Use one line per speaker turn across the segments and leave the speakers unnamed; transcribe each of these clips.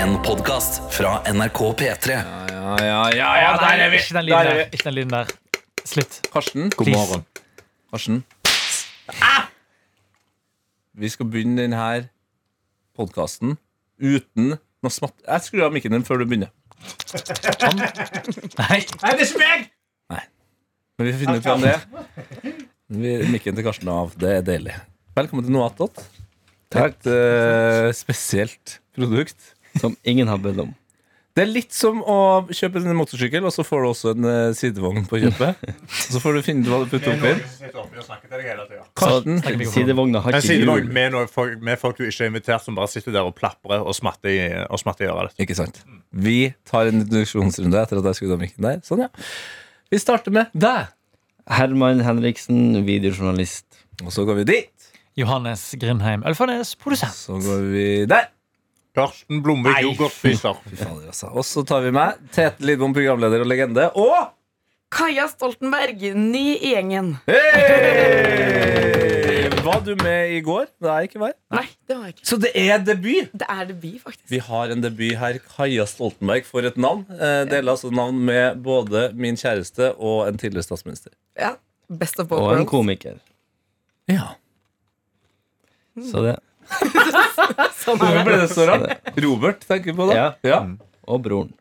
En podcast fra NRK P3
Ja, ja, ja, ja
Nei,
der er vi!
Ikke
Der
den lyden
er
der.
vi.
Ikke den lyden der. Slutt.
Karsten.
God
Please.
morgen. Ah!
Karsten. Vi skal begynne denne podkasten uten noe smatt... Jeg skrur av mikken din før du begynner.
Nei.
Nei, det er ikke meg!
Men vi får finne ut hvem det er. Vi, mikken til Karsten er av. Det er deilig. Velkommen til Noe attåt. Et eh, spesielt produkt.
Som ingen har bedt om.
Det er litt som å kjøpe en motorsykkel, og så får du også en eh, sidevogn på kjøpet. Og så får du finne ut hva du putter oppi.
som sitter oppi og snakker til deg hele tida.
Karsten,
Sidevogna har
En
ikke
sidevogn
hjul.
med, noe folk, med folk du ikke er invitert, som bare sitter der og plaprer og smatter i, og smatter i øret. ditt.
Ikke sant. Vi tar en introduksjonsrunde etter at jeg skrudde av mikken der. Sånn, ja. Vi starter med deg,
Herman Henriksen, videojournalist.
og så går vi dit.
Johannes Grindheim Ølfarnes, produsent.
Så går vi der.
Karsten Blomvik, yoghurtspiser.
Fy fader, altså. Og så tar vi meg. Tete Lidbom, programleder og legende. Og
Kaja Stoltenberg, ny i gjengen.
Hei! Var du med i går? Det er ikke vær.
Nei, det var jeg ikke.
Så det er debut!
Det er debut, faktisk.
Vi har en debut her. Kaja Stoltenberg, for et navn. Eh, Deler altså navn med både min kjæreste og en tidligere statsminister.
Ja. Best of both
Og en
worlds.
komiker.
Ja.
Så det.
Sånn
Hvorfor
er Mm. det.
ble det så rart? Robert tenker på det.
Ja.
ja.
Og broren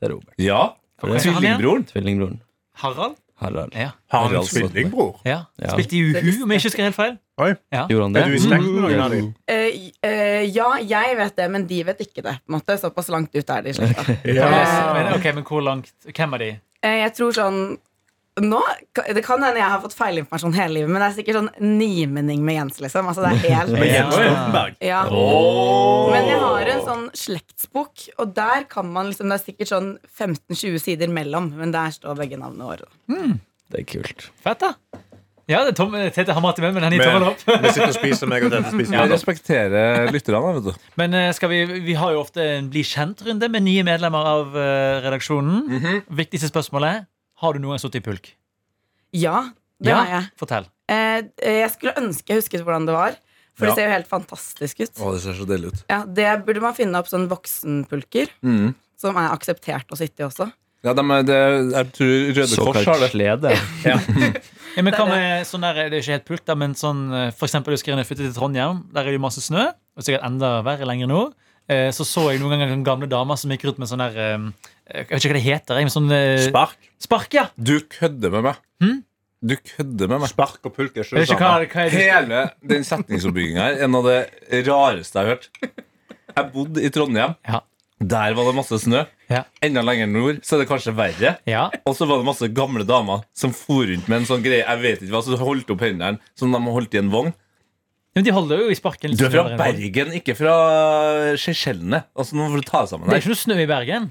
til Robert.
ja.
For det er
Tvillingbroren.
Tvillingbroren.
Harald?
Harald.
Ja.
Har han
Harald
en tvillingbror?
ja.
Ja.
Spilte i Uhu, om jeg ikke husker helt feil.
Oi,
Gjorde han det?
er du i slekt med noen av dem?
Eh, eh, ja, jeg vet det, men de vet ikke det. På en måte. Såpass langt ut er de i slekta.
Men, ok, men hvor langt? Hvem er de?
Eh, jeg tror sånn nå, Det kan hende jeg har fått feilinformasjon hele livet, men det er sikkert sånn nimening med Jens, liksom. Altså, det er helt
Med Jens
Ja.
Stoltenberg?
ja.
Oh.
Men jeg har en sånn slektsbok, og der kan man liksom, det er sikkert sånn 15-20 sider mellom, men der står begge navnene våre.
Det er kult.
Fett, da. Ja, det er Tom, Tete har mat i munnen, men han gir tommel opp.
Men- Vi sitter og spiser, meg og dette spiser
Jeg
middag.
respekterer lytterne, vet du.
Men eh, skal vi, vi har jo ofte en bli kjent-runde med nye medlemmer av eh, redaksjonen.
Mhm.
Viktigste spørsmålet har du noen sittet i pulk.
Ja, det har jeg.
Fortell.
Eh, eh, jeg skulle ønske jeg husket hvordan det var. For
Ja.
det ser jo helt fantastisk ut.
det ser så deilig ut.
Ja, det burde man finne opp sånn voksenpulker,
Mm.
som er akseptert å sitte i også.
Ja, de, er- det, jeg tror Røde Kors har
Såkalt
det.
slede.
Ja, men
Det
hva
er
med sånn der, det er ikke helt pult da, men sånn, eh, for eksempel husker jeg da jeg flyttet til Trondheim, der er det jo masse snø, og sikkert enda verre lenger nå, Eh, så så jeg noen ganger noen gamle damer som gikk rundt med sånn der, eh, jeg vet ikke hva det heter, jeg, men sånn eh,
Spark.
spark, ja.
Du kødder med meg.
Hm?
Du kødder med meg.
Spark og pulk er ikke det
Jeg vet ikke hva,
samme.
hva er det?
Hele den setningsoppbygginga her, en av det rareste jeg har hørt. Jeg bodde i Trondheim.
Ja.
Der var det masse snø.
Ja.
Enda lenger nord så er det kanskje verre.
Ja,
Og så var det masse gamle damer som for rundt med en sånn greie. Jeg vet ikke hva, så holdt opp hendene som de holdt i en vogn.
men de holder jo i sparken. liksom, litt
Du er fra
snø der inne.
Bergen, ikke fra Seychellene. Altså, nå får du ta deg sammen
Det er
her.
ikke noe snø i Bergen.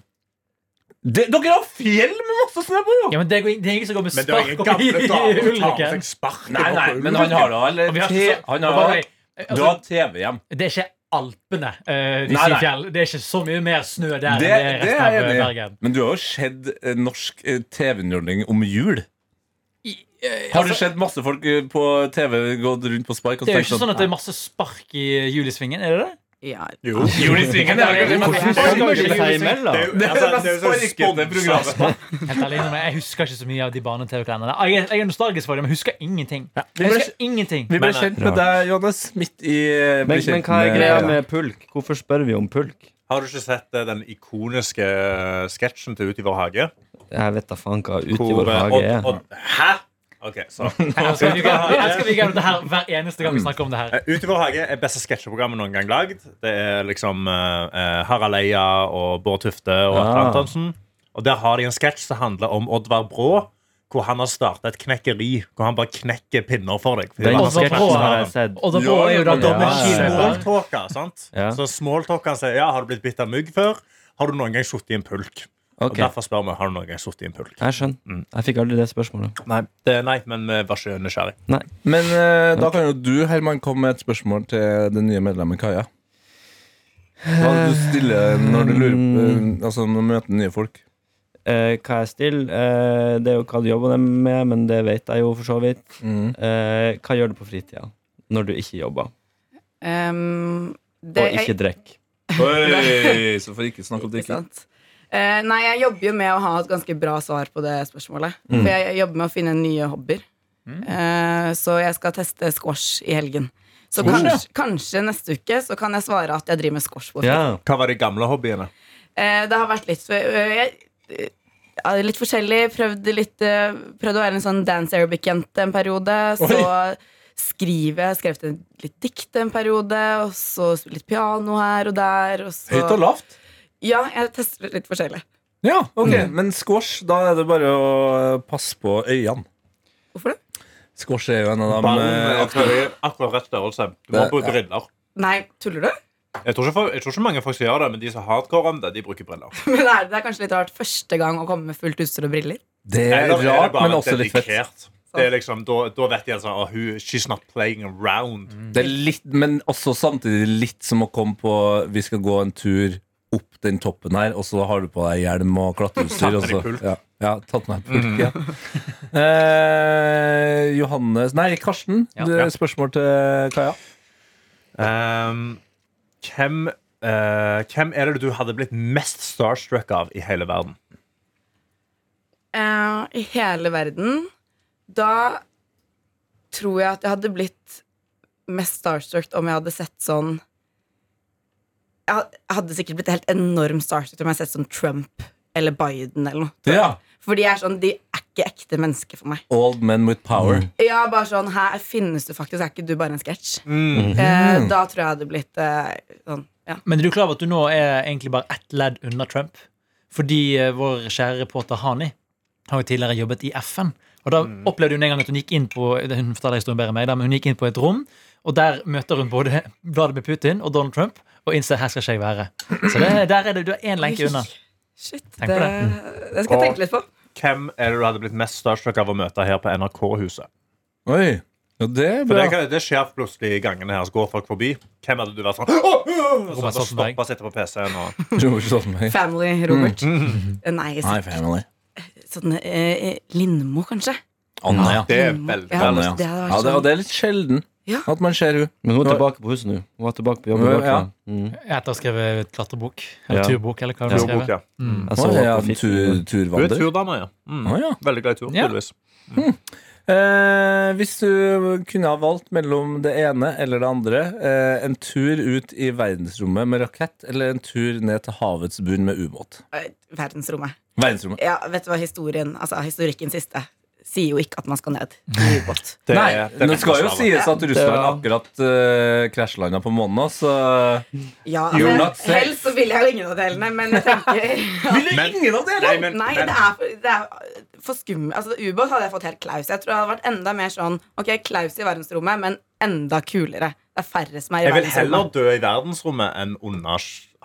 Det- Dere har fjell med masse snø på, jo!
Ja, men det er, det er ingen som går med
Men det er
spark
ingen
opp i
gamle damer som tar med
ulriken.
seg spark.
Nei, nei, men han har da vel
Og vi har
te-
ikke så-
Han
og
har
bare-
da Du
altså,
har TV hjem.
Det er ikke Alpene, eh, de
Nei,
sier
nei.
fjell. Det er ikke så mye mer snø der
Det,
enn det er
det
resten
er
av
jeg
eh,
enig i.
Bergen.
Men du har jo sett eh, norsk eh, TV-underholdning om jul. Har du
altså-
sett masse folk eh, på TV gått rundt på spark? Og
Det er jo
tenkt
ikke sånn at det er masse spark i julisvingen, er det det?
Ja.
Jo.
Julesvingen er jo ikke-
Hvordan kommer det seg
Det
imellom?
er jo- altså, det er jo sånn
Sparkete
sponsa
program.
Helt ærlig, innrømmer jeg jeg husker ikke så mye av de barne-TV-kalenderne. Jeg, er- jeg er nostalgisk for det, men jeg husker ingenting. Jeg husker ingenting
Vi ble
Men, eh,
kjent med deg, Johannes, midt i eh, ble
Men,
kjent
men hva er
med-
greia med pulk? Hvorfor spør vi om pulk?
Har du ikke sett eh, den ikoniske eh, sketsjen til Ut i vår hage?
Jeg vet da faen hva ute i
Hvor,
vår
eh,
hage
Odd-
er.
Odd- Hæ? Ok, så
Her skal vi her skal vi gjøre det her hver eneste gang vi snakker om det her.
Eh, Ut i vår hage er beste sketsjeprogrammet noen gang lagd. Det er liksom eh, eh, Harald Eia og Bård Tufte og Atle
Ah.
Antonsen. Og der har de en sketsj som handler om Oddvar Brå. Hvor han har starta et knekkeri. Hvor han bare knekker pinner for deg.
Den
Odd-
sketsjen
Odd-
har jeg sett.
Og da er jo da
Ja,
dommerskiver.
Smalltalka, sant?
Ja.
Så smalltalka sier ja, har du blitt bitt av mygg før? Har du noen gang sittet i en pulk?
Ok,
Og derfor spør vi har du noen gang sittet i en pulk.
jeg skjønner. Jeg fikk aldri det spørsmålet.
Nei, det, nei men vi var ikke nysgjerrig.
Men eh, da kan jo du, Herman, komme med et spørsmål til det nye medlemmet Kaja. Hva er det du stiller når du lurer på eh, Altså når du møter nye folk?
Eh, hva jeg stiller? Eh, det er jo hva du jobber med, men det vet jeg jo for så vidt.
Mm.
Eh, hva gjør du på fritida når du ikke jobber
Ehm, det,
og ikke drikker?
Oi, så får vi ikke snakke om
Ikke
drikking.
sant? Eh, nei, jeg jobber jo med å ha et ganske bra svar på det spørsmålet. For jeg jobber med å finne nye hobbyer. Eh, så jeg skal teste squash i helgen. Så kanskje, kanskje neste uke så kan jeg svare at jeg driver med squash. på fritiden.
Hva var de gamle hobbyene?
Eh, det har vært litt eh, jeg, eh, ja, Litt forskjellig. Prøvd, litt, eh, prøvd å være en sånn dance arabic-jente en periode. Så skrive. Jeg skrev til litt dikt en periode. Og så litt piano her og der. Og så,
Høyt og lavt? Mm.
Ja, jeg tester litt forskjellig.
Ja, ok. Men squash, da er det bare å eh, passe på øynene.
Hvorfor det?
Squash er jo en av dem
Ballen
eh,
er akkurat, akkurat rett størrelse. Du må
Det-
bruke briller.
Nei, tuller du?
Jeg tror, ikke, folk- jeg tror ikke mange folk som gjør det, men de som hardcore om det, de bruker briller.
Men er det, det er kanskje litt rart første gang å komme med fullt utstyr og briller.
Det er
Eller
rart,
bare
men også litt fett.
dedikert? Det er liksom, da, da vet de altså oh, who- She's not playing around.
Det er litt, men også samtidig litt som å komme på Vi skal gå en tur opp den toppen her, og så har du på deg hjelm og klatreutstyr.
Tatt
og
med
så-
deg pult.
Ja, ja, tatt med pult. Ja. Eh, Johannes Nei, Karsten.
Ja.
du-
Ja.
Spørsmål til Kaja.
Ehm, hvem, eh, hvem er det du hadde blitt mest starstruck av i hele verden?
Eh, I hele verden. Da tror jeg at jeg hadde blitt mest starstruck om jeg hadde sett sånn Jeg had- jeg hadde sikkert blitt helt enormt starstruck om jeg hadde sett sånn Trump eller Biden eller noe. tror jeg. For de er sånn, de er ikke ekte mennesker for meg.
Old men with power.
Ja, bare sånn, Her finnes du faktisk, er ikke du bare en sketsj?
Mm.
Eh, da tror jeg jeg hadde blitt eh, sånn, ja.
Men er du klar over at du nå er egentlig bare ett ledd unna Trump? Fordi eh, vår kjære reporter Hani har jo tidligere jobbet i FN. Og da
Mm.
opplevde hun en gang at hun gikk inn på Hun forteller historien bedre enn meg da, men hun gikk inn på et rom, og der møter hun både Vladimir Putin og Donald Trump, og innser her skal ikke jeg være. Så det, der er det, du er én lenke unna.
Shit, det,
Tenk på
det skal jeg tenke litt på.
Hvem er det du hadde blitt mest starstruck av å møte her på NRK-huset?
Oi. Ja, det er
For
bra.
det, kan- det skjer plutselig i gangene her, så går folk forbi. Hvem hadde du vært sånn «Åh, åh», Og
Robert
så
Stoltenberg.
stoppa og sitter på PC-en og
Tror ikke sånn meg.
Family Robert. Eh, Nei,
Hi,
så,
family.
sånn eh, Lindmo, kanskje.
Anna, ja.
Det er
Lindmo.
veldig
ja,
Anna, ja.
Det hadde vært
ja det, og
sånn.
det er litt sjelden
Ja.
at man ser henne.
Men hun er
Nå-
tilbake på huset nå. Hun er tilbake på jobb. i
Ja.
Barclay. Mm.
Etter å ha skrevet klatrebok, eller
Ja.
turbok, eller hva det
Jo,
var skrevet.
boka.
Jeg så
Å,
henne
ja,
på
tur,
fitten.
Hun er
turvandrer.
turdame, ja. Mm.
Å, ja.
Veldig glad i tur,
Ja.
tydeligvis.
Eh, hvis du kunne ha valgt mellom det ene eller det andre, eh, en tur ut i verdensrommet med rakett eller en tur ned til havets bunn med ubåt?
Eh, Verdensrommet.
Verdensrommet.
Ja, vet du hva historien Altså, historikken siste sier jo ikke at man skal ned i ubåt.
Det
Nei,
er- det er
det skal jo
rettslaget.
sies at Russland
Ja.
akkurat eh, krasjlanda på månen, så
Ja,
You're
men
not safe.
helst så vil jeg jo ingen av delene, men jeg tenker
Men-
ingen av
Nei, men,
Nei,
men,
det er for, det er for skummelt. Altså, ubåt hadde jeg fått helt klaus. Jeg tror det hadde vært enda mer sånn Ok, klaus i verdensrommet, men enda kulere. Det er færre som er i
jeg vil heller
verdensrommet.
dø i verdensrommet enn under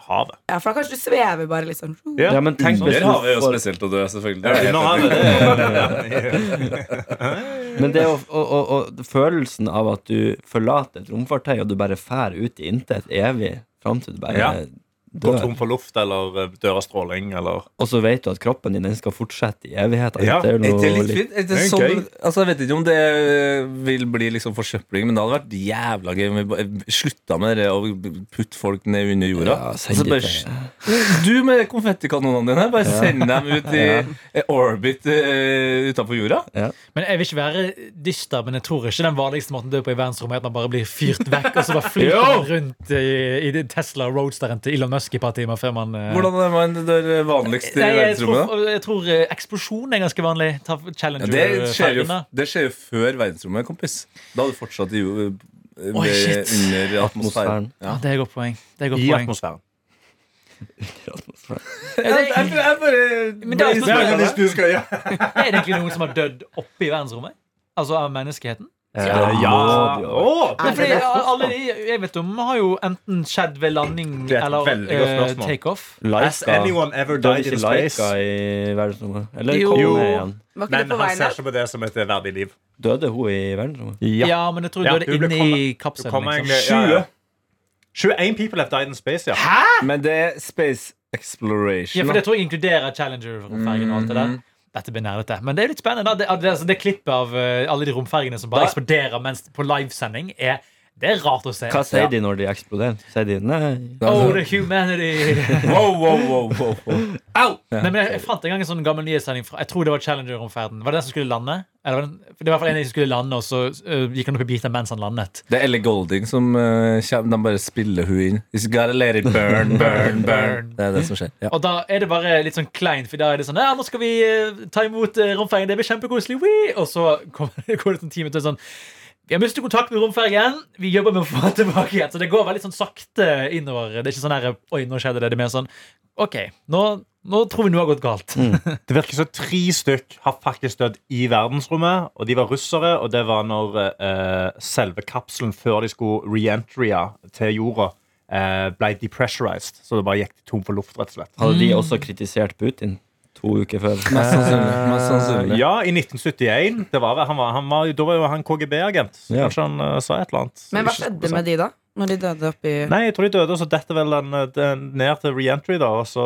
havet.
Ja, for da kanskje du svever bare litt sånn.
Ja, men tenk hvis
Der har vi
hun
jo
får
spesielt å dø, selvfølgelig. Det er helt
sånn- Under havet,
enig.
det er
Men det å, å, å, å, følelsen av at du forlater et romfartøy, og du bare fær ut i intet evig fram til du bare
Ja. Gå
dør,
tom for luft eller eh, dør av stråling eller
og så vet du at kroppen din den skal fortsette i evigheten.
Ja,
det er jo
Er
noe
Det er litt
litt-
fint. Er det
Det er
sånn,
gøy.
altså, jeg vet ikke om det øh, vil bli liksom forsøpling, men det hadde vært jævla gøy om vi ba- slutta med det og putte folk ned under jorda.
Ja, send
altså,
de
bare,
til-
s- du med konfettikanonene dine, bare send dem ut i eh, orbit uh, utafor jorda.
Men jeg vil ikke være dyster, men jeg tror ikke den vanligste måten å dø på i verdensrommet er at man bare blir fyrt vekk, og så bare flyter man rundt i, i den Tesla Roadsteren til Elon Musk i et par timer før man eh,
Hvordan er man det der vanligste
Nei,
i
jeg,
verdensrommet? da?
tror, jeg tror eh, eksplosjon er ganske vanlig. Ta eh,
Ja, det, skjer jo,
Challenger-fergene.
det skjer jo før verdensrommet, kompis. Da er du fortsatt i, jo- ved-
Oi, shit.
under atmosfæren.
Atmosfæren.
Ja, det er et godt poeng. Det er et godt
i
poeng.
atmosfæren.
Jeg, jeg, jeg
Men det
bare
er spørsmålet.
Hvis du skal gjøre
Er det egentlig noen som har dødd oppe i verdensrommet? Altså av menneskeheten?
Eh,
Ja.
Åh,
Men fordi
det er
alle de jeg vet om, har jo enten skjedd ved landing
Det er et
eller
veldig godt
eh,
spørsmål.
takeoff.
Has
Laika.
anyone ever
Døde
died
ikke
in space?
Laika i verdensrommet? Eller
Jo.
kom
Jo.
hun ned igjen?
Var ikke
Men
det på
han
veien
ser
der?
ikke på det som et verdig liv.
Døde hun i verdensrommet?
Ja. men jeg tror
Ja,
hun døde
hun ble
inni
Du
kapselen.
kommer
Liksom.
egentlig ja, ja. 21 people have died in space, ja.
Men det er Space Exploration.
Ja, for det tror jeg inkluderer Challenger-fergen og alt det
Mm-hmm.
der. Dette blir nerdete. Men det er jo litt spennende. da. Det, det, altså, det klippet av eh, alle de romfergene som bare eksploderer mens på livesending, er Det er rart å se.
Hva sier de når de eksploderer? Sier de nei?
Oh, the humanity!
Wow, wow, wow, wow, wow.
Au! Nei, men jeg, jeg fant en gang en sånn gammel nyhetssending fra Jeg tror det var Challenger-romferden. Var det den som skulle lande? Eller var det, det var i hvert fall en som skulle lande, og så øh, gikk han opp i biter mens han landet.
Det er Ellie Golding som eh, kommer. De bare spiller hun inn. It's gotta let it burn, burn, burn. Det er det som skjer. Ja.
Og da er det bare litt sånn kleint, for da er det sånn Ja, nå skal vi eh, ta imot eh, romfergen, det blir kjempekoselig, wee!» Og så kommer, går det en time til sånn Vi har mistet kontakt med romfergen, vi jobber med å få den tilbake igjen. Så det går veldig sånn sakte innover. Det er ikke sånn her Oi, nå skjedde det. Det er mer sånn OK, nå, nå tror vi noe har gått galt.
Det virker som tre stykk har faktisk dødd i verdensrommet. Og de var russere, og det var når eh, selve kapselen før de skulle reentria til jorda, eh, ble depressurized. Så det bare gikk tom for luft, rett og slett.
Hadde de også kritisert Putin to uker før?
Mest sannsynlig. Mest sannsynlig.
ja, i 1971. Det var, vel- han var, han var, da var jo han KGB-agent. Så
Ja.
kanskje han eh, sa et eller annet.
Men hva
Ikke
skjedde med de, da? Når de døde oppi
Nei, jeg tror de døde, og så detter vel den, eh, den ned til reentry, da, og så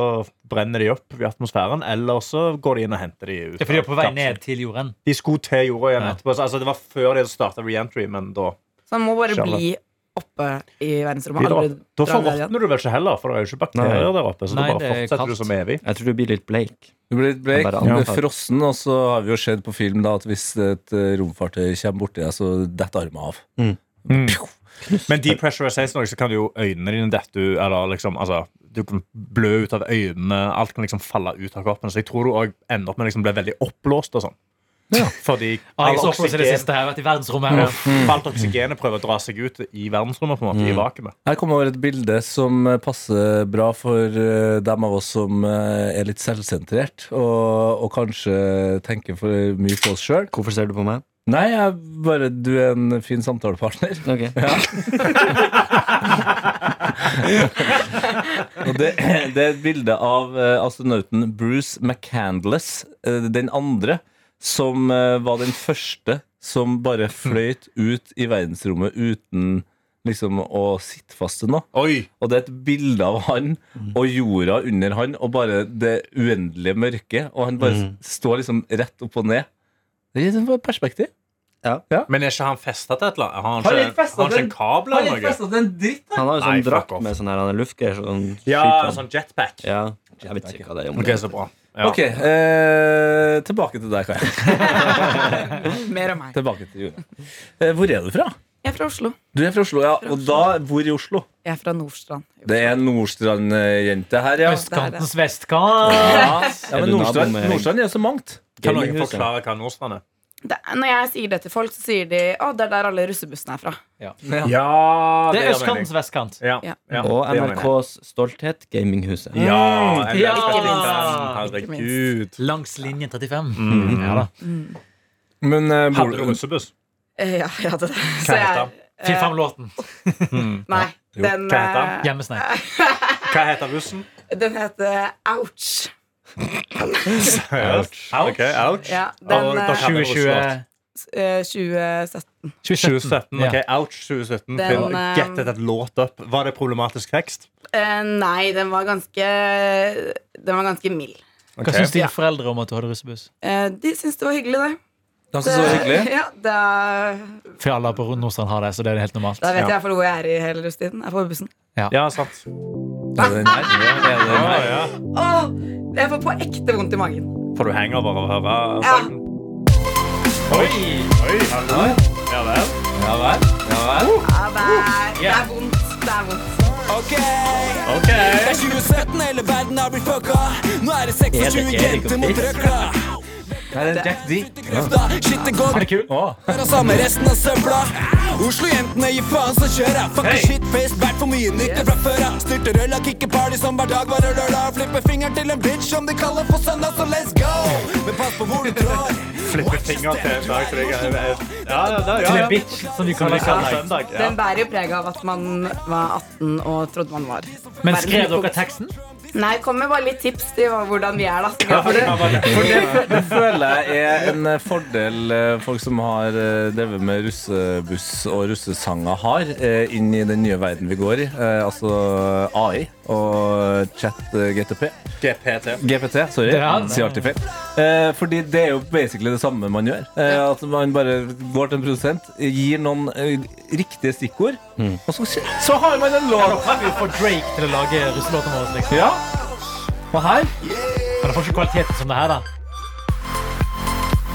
brenner de opp i atmosfæren. Eller så går de inn og henter de ut.
Det er fordi de
av
er på vei
kapselen.
ned til jorden.
De skulle til jorda igjen
Ja.
etterpå. Så, altså, det var før de starta reentry, men da
Så han må bare
Shalom.
bli oppe i verdensrommet.
Blir det
Aldri
opp- Da
dra ned igjen.
forråtner du vel ikke heller, for det er jo ikke bakterier
Nei.
der oppe. Så
Nei,
da
det
bare
er
fortsetter
kaldt.
du som evig.
Jeg tror du blir litt bleik.
Du ble litt blek,
Jeg bare
du ble
antar.
frossen, og så har vi jo sett på film da at hvis et eh, romfartøy kommer borti deg, så detter armen av.
Men depressurization også, så kan jo øynene dine dette ut, eller liksom altså, du kan blø ut av øynene, alt kan liksom falle ut av kroppen. Så jeg tror du òg ender opp med å liksom bli veldig oppblåst og sånn. Fordi
Ah,
all
jeg så på det
oksygen,
siste her, vært i verdensrommet. Ja.
alt oksygenet prøver å dra seg ut i verdensrommet, på en måte, i vakuumet.
Her kommer over et bilde som eh, passer bra for eh, dem av oss som eh, er litt selvsentrert, og, og kanskje tenker for mye på oss sjøl.
Hvorfor ser du på meg?
Nei, jeg bare Du er en fin samtalepartner.
Ok.
Og det, det er et bilde av eh, astronauten Bruce McCandless, eh, den andre, som eh, var den første som bare fløyt ut i verdensrommet uten liksom å sitte fast til noe.
Oi!
Og det er et bilde av han og jorda under han og bare det uendelige mørket. Og han bare s- står liksom rett opp og ned. Det gir et perspektiv.
Men er ikke han festa til et eller annet?
Har
Har
han
han
ikke
ikke,
festet
har han
til-
ikke en kabel eller noe?
en dritt,
Han har jo
Nei,
sånn
fuck
drakt
off.
med sånn her, han er luftgear. Sånn
Ja,
skyter han.
sånn jetpack.
ja, jeg vet ikke hva det er. Om
Ok,
det.
så bra. Ja.
Ok, eh, tilbake til deg, Kaja.
Mer om meg.
Tilbake til jorda. Eh, hvor er du fra?
Jeg er fra Oslo.
Du er fra Oslo, ja. Og da, hvor i Oslo?
Jeg er fra Nordstrand.
Det er en Nordstrand-jente her, ja.
Østkantens vestkant.
Ja, ja men
Er du nabo
Nordstrand,
med-
Nordstrand er jo så mangt.
Kan noen
Gaminghuset.
forklare hva Nordstrand er?
Det, når jeg sier det til folk, så sier de å, det er der alle russebussene er fra.
Ja,
Det er
gir mening.
Østkantens vestkant.
Ja,
Ja.
ja,
Og
det gir mening.
NRKs stolthet, Gaminghuset.
Ja, en veldig
Ja!
spesiell
Ikke
verden. Herregud.
Langs linje 35.
Mm.
Ja, da.
Men eh, bor
Hadde du
du
russebuss?
Eh, Ja, jeg hadde det. Så
Hva heter
jeg, eh,
han?
Finn fram låten.
nei, den,
hva heter han?
eh,
Hjemmesnekk.
Hva heter russen?
den heter Ouch.
Ouch. Ok, ouch.
Ja,
Og
den
da
eh,
kan det være russelåt.
2020.
eh, 2017.
2017. ok,
Ja.
Ouch 2017.
Den,
Finn,
eh,
Get that låt up. Var det problematisk tekst?
Eh, Nei, den var ganske Den var ganske mild.
Ok.
Hva syns
Ja.
dine foreldre om at du hadde russebuss?
Eh, De syntes det var hyggelig, det.
Ganske så hyggelig.
Ja, da
For alle på Nordstrand har det, så det er helt normalt.
Da vet
Ja.
jeg i hvert fall hvor jeg er i hele russetiden. Jeg er på bussen.
Ja, sant.
Er det den her? Er det den
Ja,
her?
ja.
Åh, jeg får på ekte vondt i magen.
Får du hangover av å høre
Ja.
sangen? Oi! Oi, hallo. Ja
Ja
vel.
vel? Ja vel?
Ja, det, er,
Uh.
det er vondt. Det er vondt.
Ok.
Er det Erik og Chris?
Nei, det er Jack D.
Shit, det går
Er det kult?
bra samme resten av søpla. Oslo-jentene gir faen, så kjør jeg. Fucker
Hey.
shitface, bært for mye nytt fra før jeg. Styrter øl, har kicker party som hver dag varer lørdag. Flipper fingeren til en bitch som de kaller for søndag, så let's go! Men pass på hvor du trår.
Flipper fingeren til en dag. for jeg er- Ja, ja, ja. ja,
Eller
ja.
bitch, som de kaller det.
Søndag, ja.
Den bærer jo preg av at man var 18 og trodde man var.
Men skrev dere teksten?
Nei, kom med bare litt tips til hva- hvordan vi er, da. Så vi
For det
har-
var det.
For det, det føler jeg er en eh, fordel eh, folk som har eh, drevet med russebuss og russesanger har, eh, inn i den nye verden vi går i. Eh, Altså AI og chat eh, GTP.
GPT.
GPT, sorry.
Det er han.
Mm, Sier alltid feil. Eh, fordi det er jo basically det samme man gjør. Eh, at man bare går til en produsent, gir noen eh, riktige stikkord, og så, så har man en låt.
Vi får Drake til å lage russelåten vår. Liksom.
Ja. Og her
Men det får ikke kvaliteten som det her, da.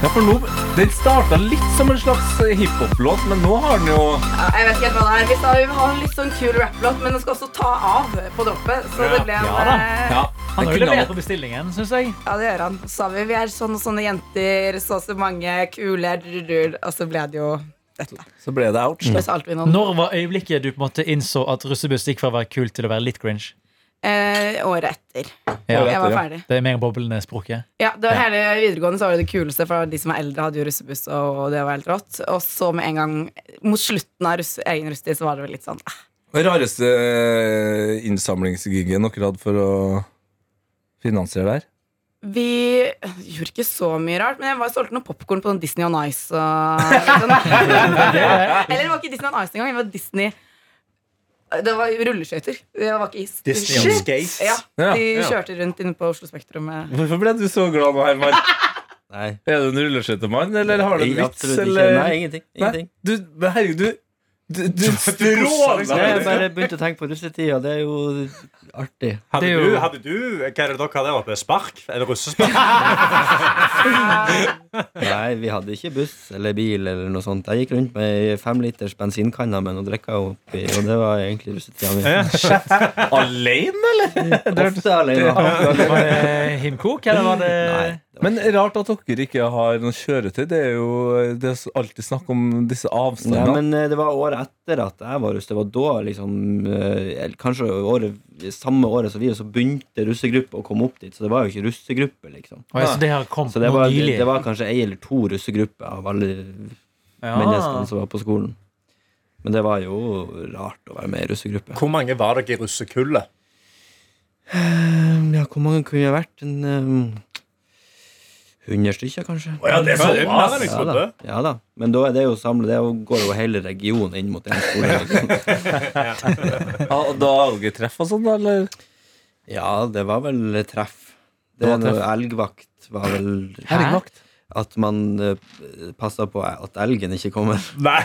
ja, for nå, Den starta litt som en slags eh, hiphop-låt, men nå har den jo
Ja, jeg vet ikke helt hva det er. Vi sa vi vil ha en litt sånn kul rapplåt, men den skal også ta av på droppet. Så det ble en
Ja da.
eh,
ja,
Han har
det
jo
kunne
levert
han.
på bestillingen, syns jeg.
Ja, det gjør han. Så sa vi vi er sånn og sånne jenter, så og så mange kule, drururur, og så ble det jo
Mm.
dette.
Så ble det ouch.
Så alt vi noen
Når var øyeblikket du på en måte innså at russebuss gikk fra å være kult til å være litt cringe?
eh, året etter.
Ja.
Jeg var
ja.
ferdig.
Det er mer boblende språket.
Ja, det var Hele videregående så var det det kuleste, for de som er eldre, hadde jo russebuss. Og det var helt rått Og så med en gang, mot slutten av russ, egen russetid, så var det vel litt sånn eh,
Den rareste eh, innsamlingsgiggen dere hadde for å finansiere det her?
Vi gjorde ikke så mye rart, men jeg var solgte noe popkorn på noen Disney on Ice. Og sånn. Eller det var ikke Disney on Ice engang. Det var Disney Det var rulleskøyter. Det var ikke is.
Disney on
Shit!
skates.
Ja,
Ja,
de
ja.
kjørte rundt inne på Oslo Spektrum. eh. med-
Hvorfor ble du så glad nå, Herman?
Nei,
Er du en rulleskøytemann, eller har du en vits?
absolutt ikke.
eller?
Nei, ingenting. ingenting.
Du, men herregud, du Du, du
Nei,
stråler!
jeg bare begynte å tenke på russetida. Det er jo artig.
Hadde,
Det er jo-
du, hadde du Hva er det dere hadde oppe? Spark? Eller russespark?
Nei, vi hadde ikke buss eller bil eller noe sånt. Jeg gikk rundt med ei femliters bensinkanne med noe drikka oppi, og det var egentlig russetida mi.
Alene?
Ofte alene.
Var det Himkok, eller var det
Nei, det var
Men rart at dere ikke har noe kjøretøy. Det er jo det er alltid snakk om disse
Nei,
avstandene.
men eh, det var året etter at jeg var russ. Det var da liksom eh, eller Kanskje året, samme året som vi, så begynte russegruppa å komme opp dit. Så det var jo ikke russegruppe, liksom.
Å, ja, Så det har kommet
Så det
nå
var,
nylig?
det var kanskje ei eller to russegrupper av alle
Ja.
menneskene som var på skolen. Men det var jo rart å være med i russegruppe.
Hvor mange var dere i russekullet?
Ja, hvor mange kunne det vært? En ehm, hundre stykker, kanskje?
Å ja, det er så liksom.
Ja,
masse, jeg
ja, da.
trodde.
ja da. Men da er det jo samlet, det er jo- går jo hele regionen inn mot en skole. liksom.
Ja, og da har dere treff og sånn, da, eller?
Ja, det var vel treff. Det
Det var
er noe elgvakt var vel
Helgevakt.
At man uh, passer på at elgen ikke kommer.
Nei,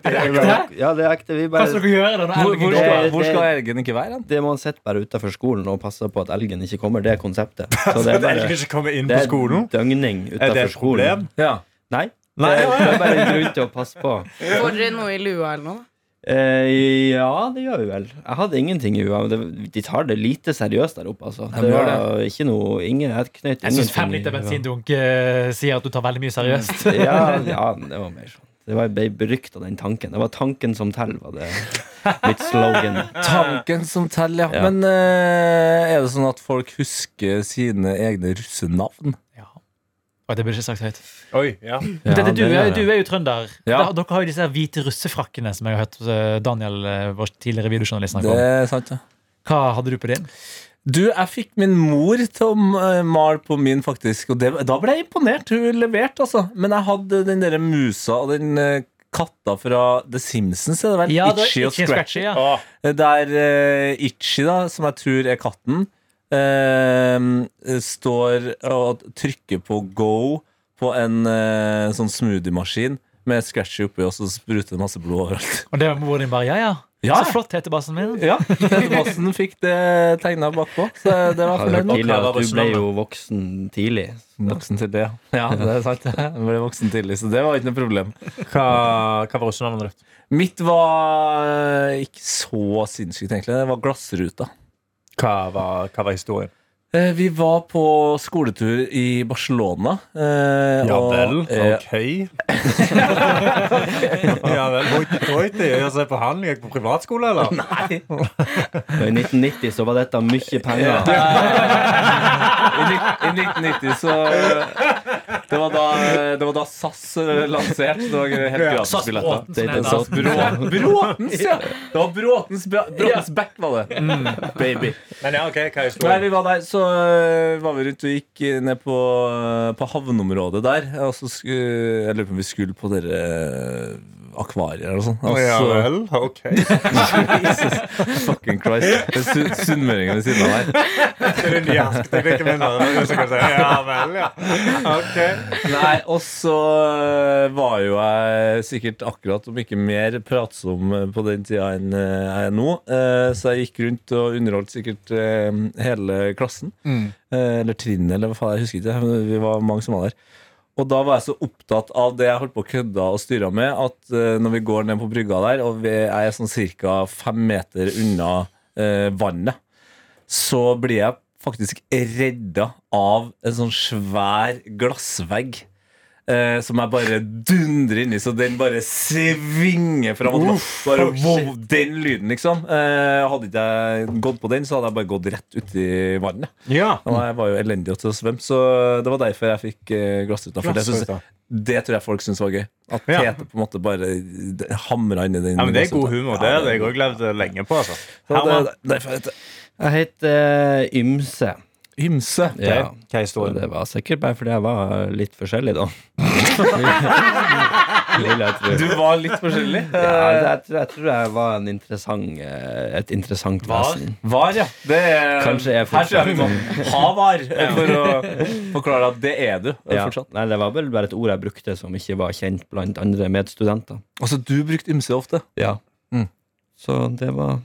Ja, det er ekte. Vi
Hva skal
bare
dere gjøre da? når
Hvor,
elgen
hvor,
går?
skal,
det-
hvor skal elgen ikke være? hen?
det man sitter bare utafor skolen og passer på at elgen ikke kommer, det er konseptet. Så det er
at
bare
elgen ikke kommer inn
det
på
er
skolen.
døgning
Er det
utafor
et problem?
skolen.
Ja.
Nei,
Nei,
det er bare en grunn til å passe på.
Får dere noe i lua eller noe?
Eh, ja, det gjør vi vel. Jeg hadde ingenting i UiA. men det- De tar det lite seriøst der oppe, altså.
de
Det
gjør
var ikke noe ingen, Jeg knøt
Jeg syns
ingenting
fem
i
liter
UiA.
bensindunk eh, sier at du tar veldig mye seriøst.
Ja, ja, men det var mer sånn. Det var ble berykt av den tanken. Det var tanken som teller, var det mitt slogan.
Tanken som teller, ja.
Ja.
Men eh, er det sånn at folk husker sine egne russenavn?
Ja. Oi, det burde ikke sagt høyt.
Oi, ja.
Ja,
Dette, du, er,
det gjør jeg.
du er jo trønder.
Ja.
Da- Dere har jo disse her hvite russefrakkene som jeg har hørt eh, Daniel, eh, vår tidligere videojournalist,
Det
snakke om.
er sant, ja.
Hva hadde du på din?
Du, jeg fikk min mor til å eh, male på min, faktisk. Og det, da ble jeg imponert. Hun leverte, altså. Men jeg hadde den derre musa og den eh, katta fra The Simpsons, er det vel?
det var
Itchy og
Itchy and
Scratchy.
ja.
Å,
Der eh, Itchy, da, som jeg tror er katten, eh, står og trykker på go på en eh, sånn smoothiemaskin med Scratchy oppi, og så spruter det masse blod overalt.
Og det var moren din bare ja, ja.
Ja.
Så flott hetebassen min.
Ja, Tete Bassen fikk det tegna bakpå, så det var fornøyd
Jeg har hørt
med.
tidligere at du ble
Russelandet.
jo voksen tidlig.
Voksen tidlig, ja. Ja, det er sant. Jeg ble voksen tidlig, så det var ikke noe problem.
Hva, hva var russenavnet ditt?
Mitt var eh, ikke så sinnssykt, egentlig. Det var Glassruta.
Hva var, hva var historien?
Eh, Vi var på skoletur i Barcelona. eh,
Ja
og,
vel,
eh,
ok. ja vel, hoiti toiti. Jeg ser på han, jeg gikk på privatskole, eller?
Og I 1990 så var dette mye penger.
I nitt- i 1990 så eh, det var, da, det var da SAS lanserte. Det var helt gratis billetter.
Bråten, som det heter.
SAS Brå- Bråtens, ja! Det var Bråtens, Bra- Bråtens back, var det. Baby.
Men ja, ok, hva er
Nei,
historien?
vi var der, så øh, var vi rundt og gikk øh, ned på, øh, på havneområdet der. Og så sku- jeg lurer på om vi skulle på dere øh, akvarier eller noe sånt.
Ja
Altså,
vel, ok. Det
fucking Christ. Det er su- sunnmøringen ved siden av der.
er den nye asketeknikken min. da. Det er det som kan si. Ja vel, ja. Ok.
Nei, og så øh, var jo jeg sikkert akkurat, om ikke mer, pratsom øh, på den tida enn øh, jeg er nå. Eh, Så jeg gikk rundt og underholdt sikkert øh, hele klassen. Eh, Eller trinnet, eller hva faen, jeg husker ikke. men Vi var mange som var der. Og da var jeg så opptatt av det jeg holdt på å kødde og styre med, at eh, når vi går ned på brygga der, og vi er sånn ca. fem meter unna eh, vannet, så blir jeg faktisk redda av en sånn svær glassvegg. eh, som jeg bare dundrer inni, så den bare svinger fram og tilbake. Bare, wow, den lyden, liksom. Eh, hadde ikke jeg gått på den, så hadde jeg bare gått rett uti vannet.
Ja.
Og jeg var jo elendig til å svømme, så det var derfor jeg fikk eh, glassruta. For det, synes,
Glassruta.
det tror jeg folk syntes var gøy. At
Ja.
Peter på en måte bare d- hamra inn i den.
Ja, men Det er
glassruta.
god humor. Det
Ja,
hadde jeg òg levd lenge på. altså
Så det,
Herman,
det, derfor heter det
Jeg heter eh, Ymse.
ymse.
Ja.
hva er
Og
historien?
det var sikkert bare fordi jeg var litt forskjellig, da. Vil jeg tro.
Du var litt forskjellig.
Ja, jeg, tror, jeg tror jeg var en interessant, eh, et interessant
Var?
vesen.
Var, ja. Det er,
Kanskje jeg
Her tror jeg vi må ha var eh, for å forklare at det er du eh,
Ja.
fortsatt.
Nei, det var vel bare et ord jeg brukte som ikke var kjent blant andre medstudenter.
Altså, du brukte ymse ofte.
Ja.
Mm.
Så det var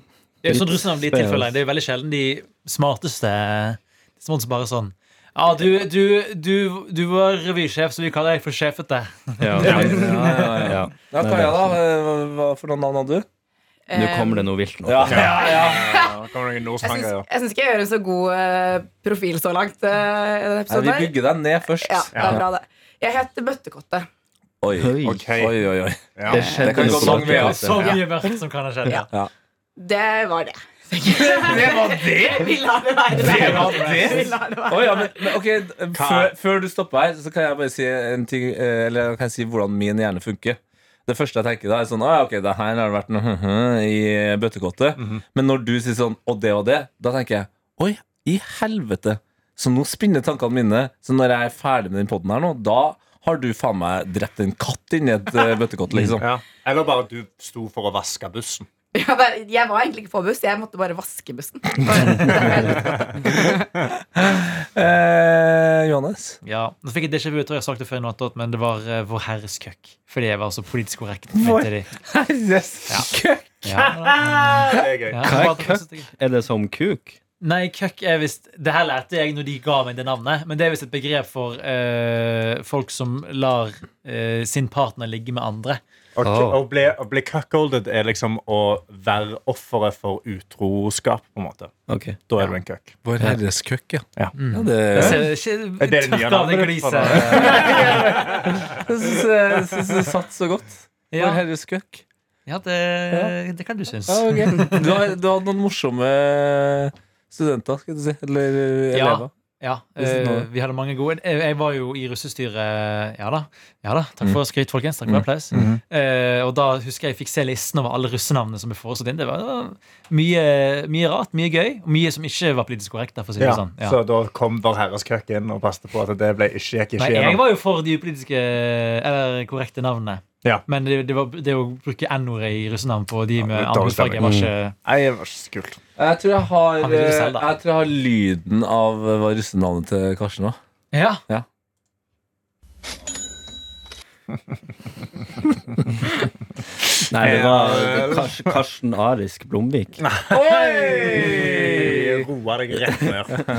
Det er jo sånn russerne blir tilfellet. Det er jo veldig sjelden de smarteste de smarteste bare sånn Ja, du, du, du, du var revysjef, så vi kaller deg for sjefete.
Ja. Ja.
Ja,
Nei, det
Kaja,
er
da. eh, Hva for noen navn hadde du?
Nå
Eh,
kommer det noe vilt nå.
Nå kommer det noen
Jeg syns,
nordstranggreier.
jeg syns ikke jeg gjør en så god eh, profil så langt. eh, i denne
Ja,
episoden
vi
her.
bygger deg ned først.
Ja, det er bra, det. Jeg heter Bøttekottet.
Oi.
Oi.
Ok.
Oi, oi, oi.
Ja.
Det
Det
skjedde
kan
noe
gå lang vei,
blant
Så
dere.
mye mørkt som kan ha skjedd. Ja.
Det var det. det var det? Vi lar det være det.
var det?
Vi lar det være.
Å, ja, men, men ok, d- før, før du stopper her, så kan jeg bare si en ting eh, Eller jeg kan si hvordan min hjerne funker. Det første jeg tenker da, er sånn Å ja, ok, det her har det vært noe «hm-hm» i bøttekottet. Men når du sier sånn og det og det, da tenker jeg Oi, i helvete. Så nå spinner tankene mine. Så når jeg er ferdig med den poden her nå, da har du faen meg drept en katt inni et eh, bøttekott,
sånn.
liksom.
Ja. Eller bare du sto for å vaske bussen.
Ja, det er- jeg var egentlig ikke på buss, jeg måtte bare vaske bussen. Bare-
Eh, Johannes?
Ja, Nå fikk jeg déjà vu, jeg tror jeg har sagt det før, i Noe Attåt, men det var uh, Vår Herres køkk. Fordi jeg var så politisk korrekt. mente de.
Herres køkk!
Ja.
Det er gøy.
Ja.
Hva er køkk? Er det som kuk?
Nei, køkk er visst Det her lærte jeg når de ga meg det navnet. Men det er visst et begrep for eh, folk som lar eh, sin partner ligge med andre.
Og,
Åh.
å, bli, å bli cuckolded er liksom å være offeret for utroskap, på en måte.
Ok.
Da er du en cuck.
Vår Herres køkk, ja.
Ja.
ja det,
Så, ikke,
Er det det nye
tørk av deg
navnet?
gliset.
Jeg syns jeg syns det satt så godt.
Ja.
Vår Herres køkk.
Ja, det, det kan du synes.
Ja, ok. du, har, du hadde noen morsomme studenter, skal du si. Eller eh,
Ja.
elever.
Ja,
Hvis det nå-
eh, Vi hadde mange gode. Jeg, jeg var jo i russestyret Ja da. ja da,
Mm.
Takk for skryt, folkens. Takk for applaus. Eh, og da husker jeg jeg fikk se listen over alle russenavnene som ble foreslått inn. Det var, det var mye, mye rart, mye gøy, og mye som ikke var politisk korrekt. da, for å si det
Ja.
sånn. Ja.
Så da kom vår herres cuck inn og passet på at det ble ikke, gikk ikke
Nei, jeg
gjennom.
var jo for de upolitiske, eller korrekte navnene.
Ja.
Men det, det, var, det å bruke n-ordet i russenavn på de med
det er
andre
dårlig
hudfarge var ikke
Nei, det var ikke så kult.
Jeg tror jeg har,
Han
eh,
ville det selv, da.
jeg tror jeg har lyden av eh, hva russenavnet til Karsten var.
Mm.
Ja,
Nei, det
Ja,
var
vel.
Kars, Karsten Arisk Blomvik.
Oi! Roa deg rett ned.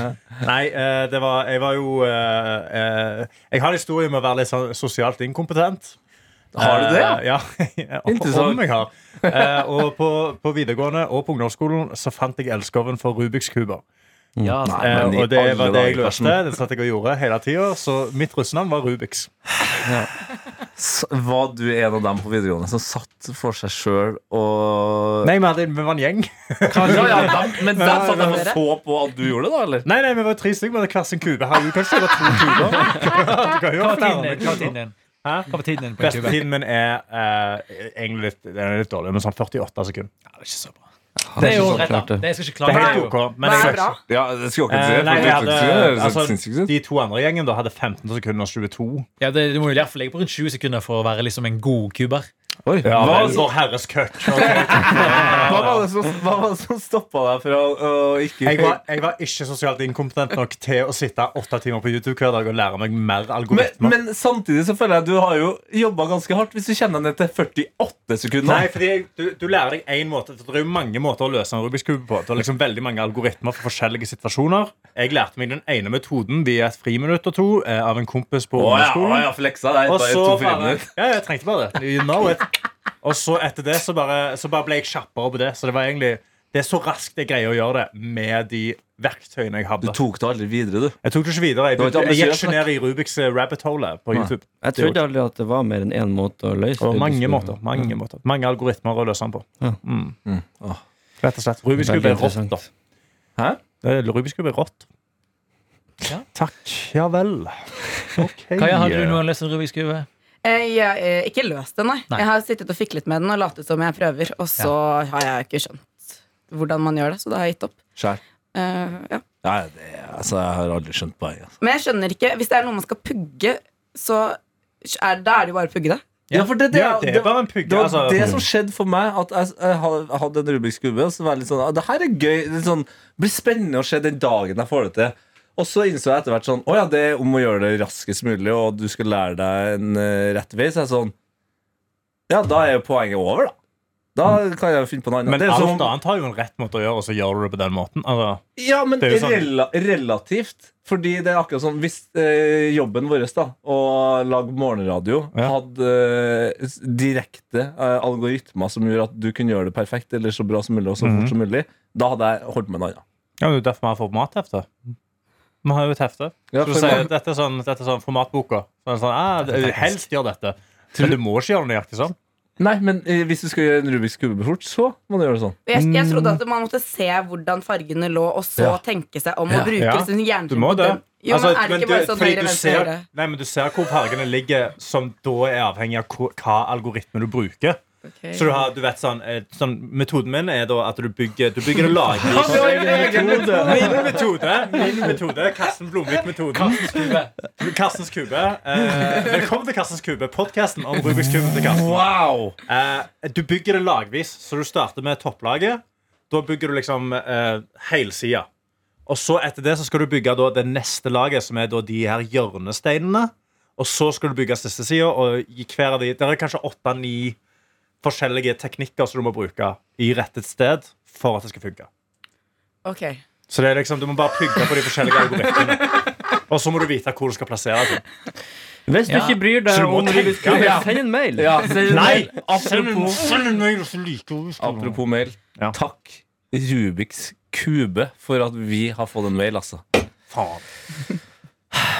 Nei, eh, det var Jeg var jo eh, eh, Jeg har en historie med å være litt sånn sosialt inkompetent.
Har du det?
Eh, ja.
Interessant.
Om jeg har. Eh, og på, på videregående og på ungdomsskolen så fant jeg elskoven for Rubiks kuber.
ja
Nei.
Eh,
men i
og det
alle
var det jeg
dager,
løste. Det satt jeg og gjorde hele tida. Så mitt russenavn var Rubiks.
S- Var du en av dem på videregående som satt for seg sjøl og
Nei, vi, hadde, vi var en gjeng.
ja, ja, dem, Men dem satt dem og
Dere?
så på at du gjorde det, da? eller?
Nei, nei, vi var tre stykker med hver sin kube. Herregud, kanskje det var to kuber? Du kan jo
Hva
ha
var tiden
flere
din? Hva var tiden din?
Hæ?
Hva var tiden din på en
Beste
kube?
tiden min er eh, egentlig litt, den er litt dårlig, men sånn 48 sekunder.
Ja, det er ikke så bra. Det er jo
så
rett, da.
klart, det.
Det skal jeg ikke
Det er
klage
helt
på.
ok. Men
Hva
jeg,
er bra?
Ja, det skulle
Eh,
jeg
nei,
akkurat si. for
vi hadde,
det høres helt sinnssykt
altså,
ut.
de to andre gjengen da hadde 15 sekunder og 22.
Ja, det, Du må jo i hvert fall ligge på rundt 20 sekunder for å være liksom en god kuber.
Oi,
Ja,
hva,
vel, vår herres køkk.
hva var det som, hva var det som stoppa deg fra å ikke
Jeg var, jeg var ikke sosialt inkompetent nok til å sitte åtte timer på YouTube hver dag og lære meg mer
men,
algoritmer.
men samtidig så føler jeg du har jo jobba ganske hardt, hvis du kjenner deg ned til 48 sekunder.
Nei, fordi du, du lærer deg én måte. Det er jo mange måter å løse en Rubiks kube på. Det er liksom veldig mange algoritmer for forskjellige situasjoner. Jeg lærte meg den ene metoden via et friminutt og to eh, av en kompis på
Å ja, å
ungdomsskolen.
ja, fleksa deg
Og
bare
så
to-fire
bare,
minutter.
ja, jeg trengte bare det. You know it. Og så etter det så bare, så bare ble jeg kjappere på det. Så det var egentlig Det er så raskt jeg greier å gjøre det med de verktøyene jeg
Du
hadde.
tok det aldri videre, du.
Jeg tok det ikke videre. Jeg,
Det var ikke
begynte- jeg gikk
ambisiøst
ikke ned i Rubiks eh, rabbit hole på
Nei.
YouTube.
Jeg trodde aldri at det var mer enn én måte å løse
Og
det.
mange måter. Mange, måter. mange algoritmer å løse den på.
Ja.
Mm.
Åh.
Rett og slett. Rubiks kube
Veldig
er rått, da.
interessant.
Hæ?
Det er- Rubiks kube er rått.
Ja.
Takk. Ja vel. Ok.
Kaja, hadde du noen løst en Rubiks kube?
Eh, jeg eh, ikke løst den, nei.
Nei.
Jeg har sittet og fiklet med den og latet som jeg prøver, og så har jeg ikke skjønt hvordan man gjør det, så da har jeg gitt opp.
Skjær.
Eh, ja.
Nei, det, altså, jeg har aldri skjønt poenget. Altså.
Men jeg skjønner ikke, hvis det er noe man skal pugge, så er, da er det jo bare å pugge det.
Ja, for det, det,
Ja, det
det,
var en pugge,
det var
altså.
det som skjedde for meg. At jeg, jeg ha- hadde en Rubiks kube. Og så var jeg litt sånn «Ah, Det her er gøy. Det sånn, blir spennende å se den dagen jeg får det til. Og så innså jeg etter hvert sånn Å ja, det er om å gjøre det raskest mulig, og du skal lære deg en eh, rett vei. Så jeg sånn Ja, da er jo poenget over, da. Da kan jeg jo finne på noe annet.
Men
Det er
alt
som om-
annet har jo en rett måte å gjøre, og så gjør du det på den måten. Altså,
Ja, men
Det er jo sånn.
rela relativt. Fordi det er akkurat sånn Hvis eh, jobben vår da å lage morgenradio
Ja.
hadde eh, s- direkte eh, algoritmer som gjorde at du kunne gjøre det perfekt eller så bra som mulig og så
Mhm.
fort som mulig, da hadde jeg holdt med en annen.
ja, men det er jo derfor vi har formathefte. Vi har jo et hefte.
Ja,
så du
for-
sier at dette er sånn, dette er sånn formatboka. Så er det sånn, ah, det- helst gjør dette. Men du må ikke gjøre det nøyaktig sånn.
Nei, men eh, hvis du skal gjøre en Rubiks kube fort, så må du gjøre det sånn.
Jeg, jeg trodde at man måtte se hvordan fargene lå, og så
Ja.
tenke seg om
Ja.
å bruke
Ja.
sin hjerne.
Du må
på
det.
den. Jo,
Altså,
men er det ikke bare sånn
fordi
høyre,
du
venstre,
ser-
høyre?
Nei, men du ser hvor fargene ligger, som da er avhengig av hvor- hva algoritme du bruker. Så du, har, du vet sånn, eh, sånn Metoden min er da at du bygger Du bygger en lagvis Min metode! Min metode Karsten Blomvik-metoden. Karstens kube. Eh, velkommen til Karstens kube, podkasten om Rubiks kube til Karsten.
Wow!
Eh, du bygger det lagvis, så du starter med topplaget. Da bygger du liksom eh, helsida. Og så etter det så skal du bygge da, det neste laget, som er da de her hjørnesteinene. Og så skal du bygge siste sida, og i hver av de Det er kanskje åtte-ni forskjellige teknikker som du må bruke i rettet sted for at det skal funke.
Ok.
Så det er liksom, du må bare pugge på de forskjellige algoritmene. Og så må du vite hvor du skal plassere det.
Hvis du
Ja.
ikke bryr deg
Så du må
om Rubiks
tenke.
kube,
Ja.
send en mail!
Ja, så-
Nei!
apropos,
Apropos
apropos mail.
Ja.
Takk, Rubiks kube, for at vi har fått en mail, altså.
Faen.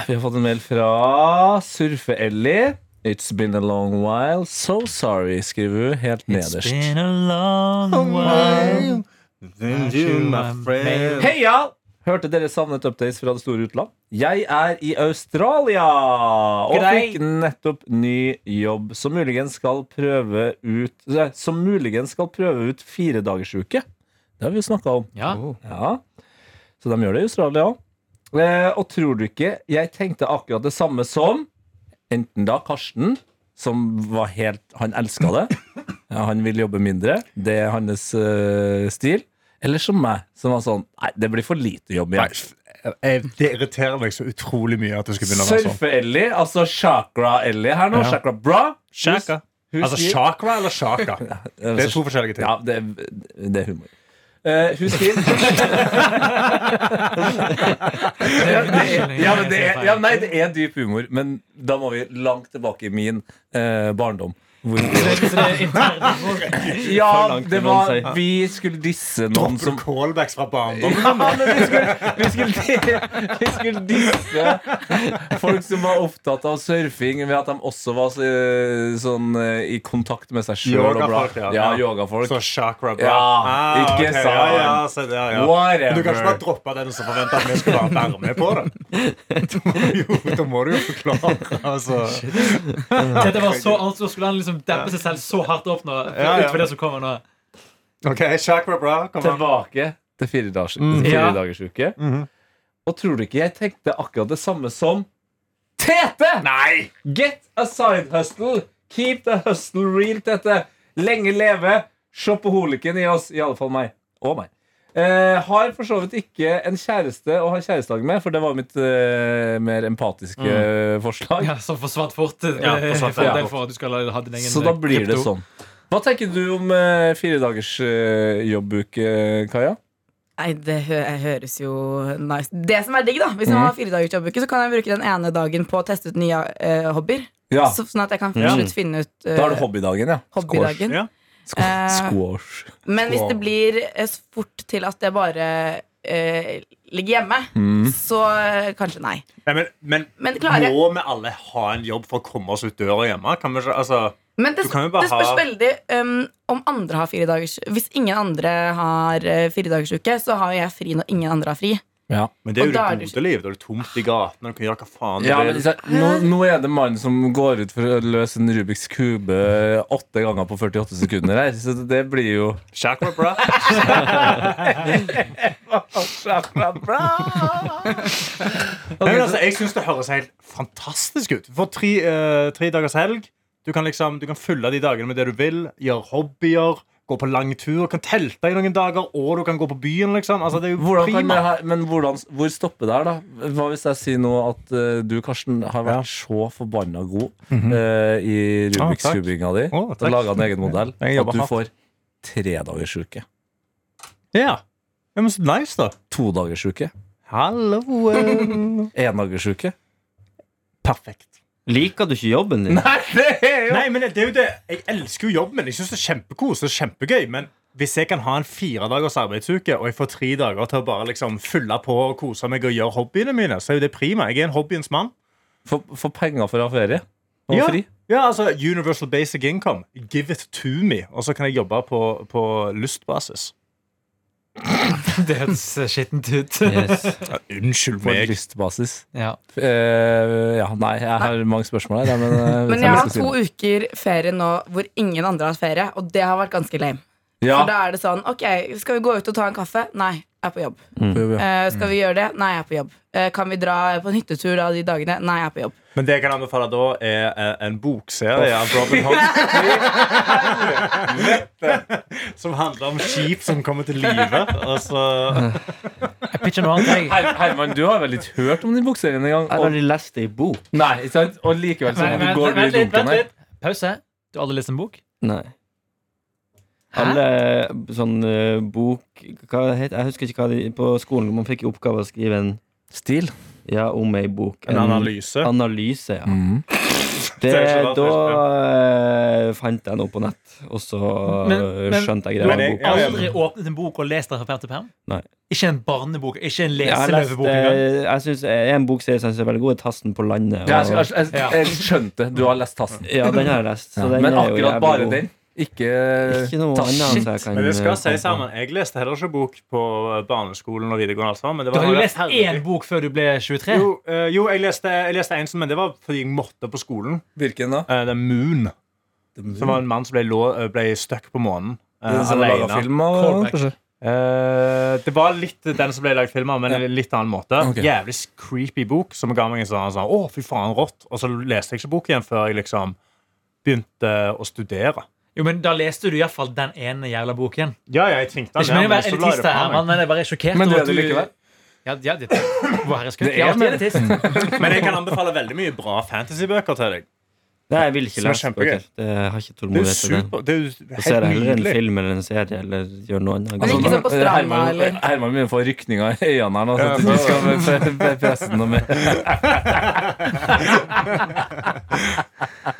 Vi har fått en mail fra Surfe-Ellie. It's been a long while. So sorry, skriver hun helt nederst.
Been a long
Oh
while.
Heia! Hørte dere savnet updates fra det store utland? Jeg er i Australia og
Grei.
fikk nettopp ny jobb som muligens skal prøve ut nei, Som muligens skal prøve ut firedagersuke. Det har vi jo snakka om.
Ja.
Oh.
Ja. Så de gjør det i Australia òg. Eh, og tror du ikke jeg tenkte akkurat det samme som enten da Karsten, som var helt Han elska det. Ja, han vil jobbe mindre. Det er hans eh, stil. Eller som meg, som var sånn Nei, det blir for lite jobb igjen.
Det irriterer meg så utrolig mye at du skulle begynne å være sånn.
Surfe-Ellie, altså Chakra-Ellie her nå.
Ja.
Chakra bra.
Shaka.
Hun
Altså
sier-
chakra eller shaka? Det er to forskjellige ting.
Ja, det, det er humor. Eh, hun skriver ja, det er, ja, men det er, ja, Nei, det er dyp humor, men da må vi langt tilbake i min eh, barndom. Hvor
Så det er interne humor.
ja, det var Vi skulle disse noen
Dropper
som
du callbacks fra barndommen?
ja, men vi, skulle, vi, skulle, vi skulle disse folk som var opptatt av surfing, ved at de også var så, sånn eh, i kontakt med seg sjøl.
Yogafolk, ja.
ja,
Ja.
yogafolk.
Så chakra bra. Ah,
Ja, ikke
ok,
sant.
Ja, ja, så det, ja.
Whatever.
Men du kan ikke bare droppe den og så forvente at vi skal bare være med på det. Da må du jo, da må du jo forklare. Altså.
Dette var så annet, så skulle han liksom dempe seg selv så hardt opp nå.
Ja, ja.
Ut for det som kommer nå.
OK, chakra bra. Kom an.
tilbake til fire, dager, fire
Mm. Ja. Mhm.
dagers uke. Og tror du ikke jeg tenkte akkurat det samme som Tete!
Nei!
Get a side hustle! Keep the hustle real, Tette. Lenge leve shopaholiken i oss. I alle fall meg. Og meg. Eh, har for så vidt ikke en kjæreste å ha kjærestedag med, for det var mitt eh, mer empatiske eh, forslag.
Mm. Ja, som forsvant fort.
Ja, forsvant
fordel
fort.
for at du skal ha ha din egen eh,
Så da blir det
krypto.
sånn. Hva tenker du om eh, fire dagers eh, jobbuke, Kaja?
Nei, det hø høres jo nice Det som er digg, da
Mhm.
hvis man har fire dager jobbuke, så kan jeg bruke den ene dagen på å teste ut nye eh, hobbyer.
Ja,
Så, sånn at jeg kan til slutt finne ut eh,
Da er det hobbydagen, ja.
hobbydagen.
Ja.
Squash.
Eh,
Squash.
Men hvis det blir eh, så fort til at det bare eh, ligger hjemme,
Mhm.
så eh, kanskje nei.
Nei, men, men,
Men klare-
må vi alle ha en jobb for å komme oss ut døra hjemme? Kan vi ikke, altså,
Men det,
Du kan jo bare
det spørs
ha-
veldig um, om andre har fire dagers Hvis ingen andre har uh, fire dagers uke, så har jo jeg fri når ingen andre har fri.
men det er
Og
jo
da er
det
det
gode livet. Da er det tomt i gatene. Du kan gjøre hva faen du
Ja, men
vil.
så- nå, nå er det mannen som går ut for å løse en Rubiks kube åtte ganger på 48 sekunder her, så det blir jo
Chakra, bra. Nei, men altså, jeg syns det høres helt fantastisk ut. For tre, eh, tre dagers helg. Du kan, liksom, du kan fylle de dagene med det du vil. Gjøre hobbyer. Gå på lang tur. Kan telte i noen dager, og du kan gå på byen. Liksom. Altså, det er jo
Hvordan kan
prima.
det her, men hvordan, hvor stopper det her, da? Hva hvis jeg sier nå at eh, du, Karsten, har vært så forbanna god eh, i Rubiks
Ah, takk.
kubinga di
Å,
og
takk.
laga en egen modell,
Jeg
at
jobber
du
hardt.
får tredagersuke,
Ja. ja, men så nice, da.
todagersuke,
Hallo.
endagersuke?
Perfekt.
Liker du ikke jobben din?
Nei, men det er jo det. Jeg elsker jo jobben min. Jeg syns det er kjempekos og kjempegøy. Men hvis jeg kan ha en fire dagers arbeidsuke, og jeg får tre dager til å bare liksom fylle på og kose meg og gjøre hobbyene mine, så er jo det prima. Jeg er en hobbyens mann.
Få få penger for å ha ferie og
Ja.
fri?
Ja, altså Universal Basic Income. Give it to me. Og så kan jeg jobbe på, på lystbasis.
sånn.
Det høres eh, skittent ut.
Yes.
Ja, unnskyld
På
meg.
lystbasis?
Ja.
Eh, ja, nei, jeg har mange spørsmål her. Men, eh, jeg
Men jeg
skal
har
si
to
det.
uker ferie nå hvor ingen andre har hatt ferie, og det har vært ganske lame.
ja.
For da er det sånn OK, skal vi gå ut og ta en kaffe? Nei, jeg er på jobb.
Mm.
Eh, skal vi gjøre det? Nei, jeg er på jobb. Eh, kan vi dra på en hyttetur da de dagene? Nei, jeg er på jobb.
Men det jeg kan anbefale da, er eh, en bokserie av Robin Hood. som handler om skip som kommer til live. Og så
Jeg pitcher noe annet, jeg.
Her, Herman, du har vel ikke hørt om den bokserien engang?
Jeg har
Og,
aldri lest det i bok.
nei, ikke sant? Og likevel så
Vent, vent,
går du i
vent litt,
dunken
vent
her.
litt. Pause. Du har aldri lest en bok?
Nei.
Hæ?
Alle sånn eh, bok hva det heter, Jeg husker ikke hva det På skolen man fikk i oppgave å skrive en
Stil.
Ja, om ei bok.
en analyse.
Analyse, ja.
Mhm.
Det,
Det er så rart,
da eh, fant jeg noe på nett, og så
Men- men-
skjønte jeg
Men jeg-
greia med
Ja,
boka.
ja.
Aldri åpnet en bok og lest den fra perm til perm?
Nei.
Ikke en barnebok, ikke en
Jeg har lest,
leseløvebok engang?
eh, jeg synes, en bokserie som jeg synes er veldig god, er 'Tasten på landet'.
Ja,
altså,
jeg, jeg,
Og,
jeg, jeg skjønte. Du har lest Tassen.
ja, den har jeg lest. Så den
Men
er jo
akkurat
jævlig
bare
god.
den. Ikke,
Ikke noe
Ta
annet
shit.
som jeg kan
eh, Men det skal
eh,
sies,
komme på.
Herman, jeg leste heller ikke bok på barneskolen og videregående. Altså, men det
Du
var
har jo lest
Herregud.
én bok før du ble 23.
Jo, eh, jo jeg, leste, jeg leste en som Men det var fordi jeg måtte på skolen.
Hvilken da?
Eh, det er Moon.
Moon.
Som var en mann som ble, lå- eh, ble stuck på månen. eh,
Den som laget
alene.
film av-
Callback.
kanskje?
Eh, det var litt den som ble lagd film av, men en litt annen måte.
Ok.
Jævlig creepy bok som ga meg en sånn, sånn Å, fy faen, rått. Og så leste jeg ikke bok igjen før jeg liksom begynte å studere.
Jo, men Da leste du iallfall den ene jævla boken.
Ja, ja, jeg tvingte
Det er ikke meningen
så
å være
la jeg det
elitist, her,
fra meg.
Herman, men jeg er bare sjokkert.
Men du
over
er det
at
likevel.
Ja, ja, det, Å, herre skøy.
Det er
Jeg er alltid
det.
elitist.
Men jeg kan anbefale veldig mye bra fantasybøker til deg.
Nei, jeg vil ikke
Som er
lese
kjempegøy.
bøker. Det jeg har ikke
Det er jo
tålmodighet til det.
super, det er jo
Da ser jeg
helt
heller en
nydelig. Altså,
film eller en serie eller gjør noe annet.
Men ikke
Sånn-
så på stranda,
Altså, Herman-
eller?
Herman begynner å få rykninger i øynene her nå. Så
Ja,
at du skal pre- pre- presse noe mer.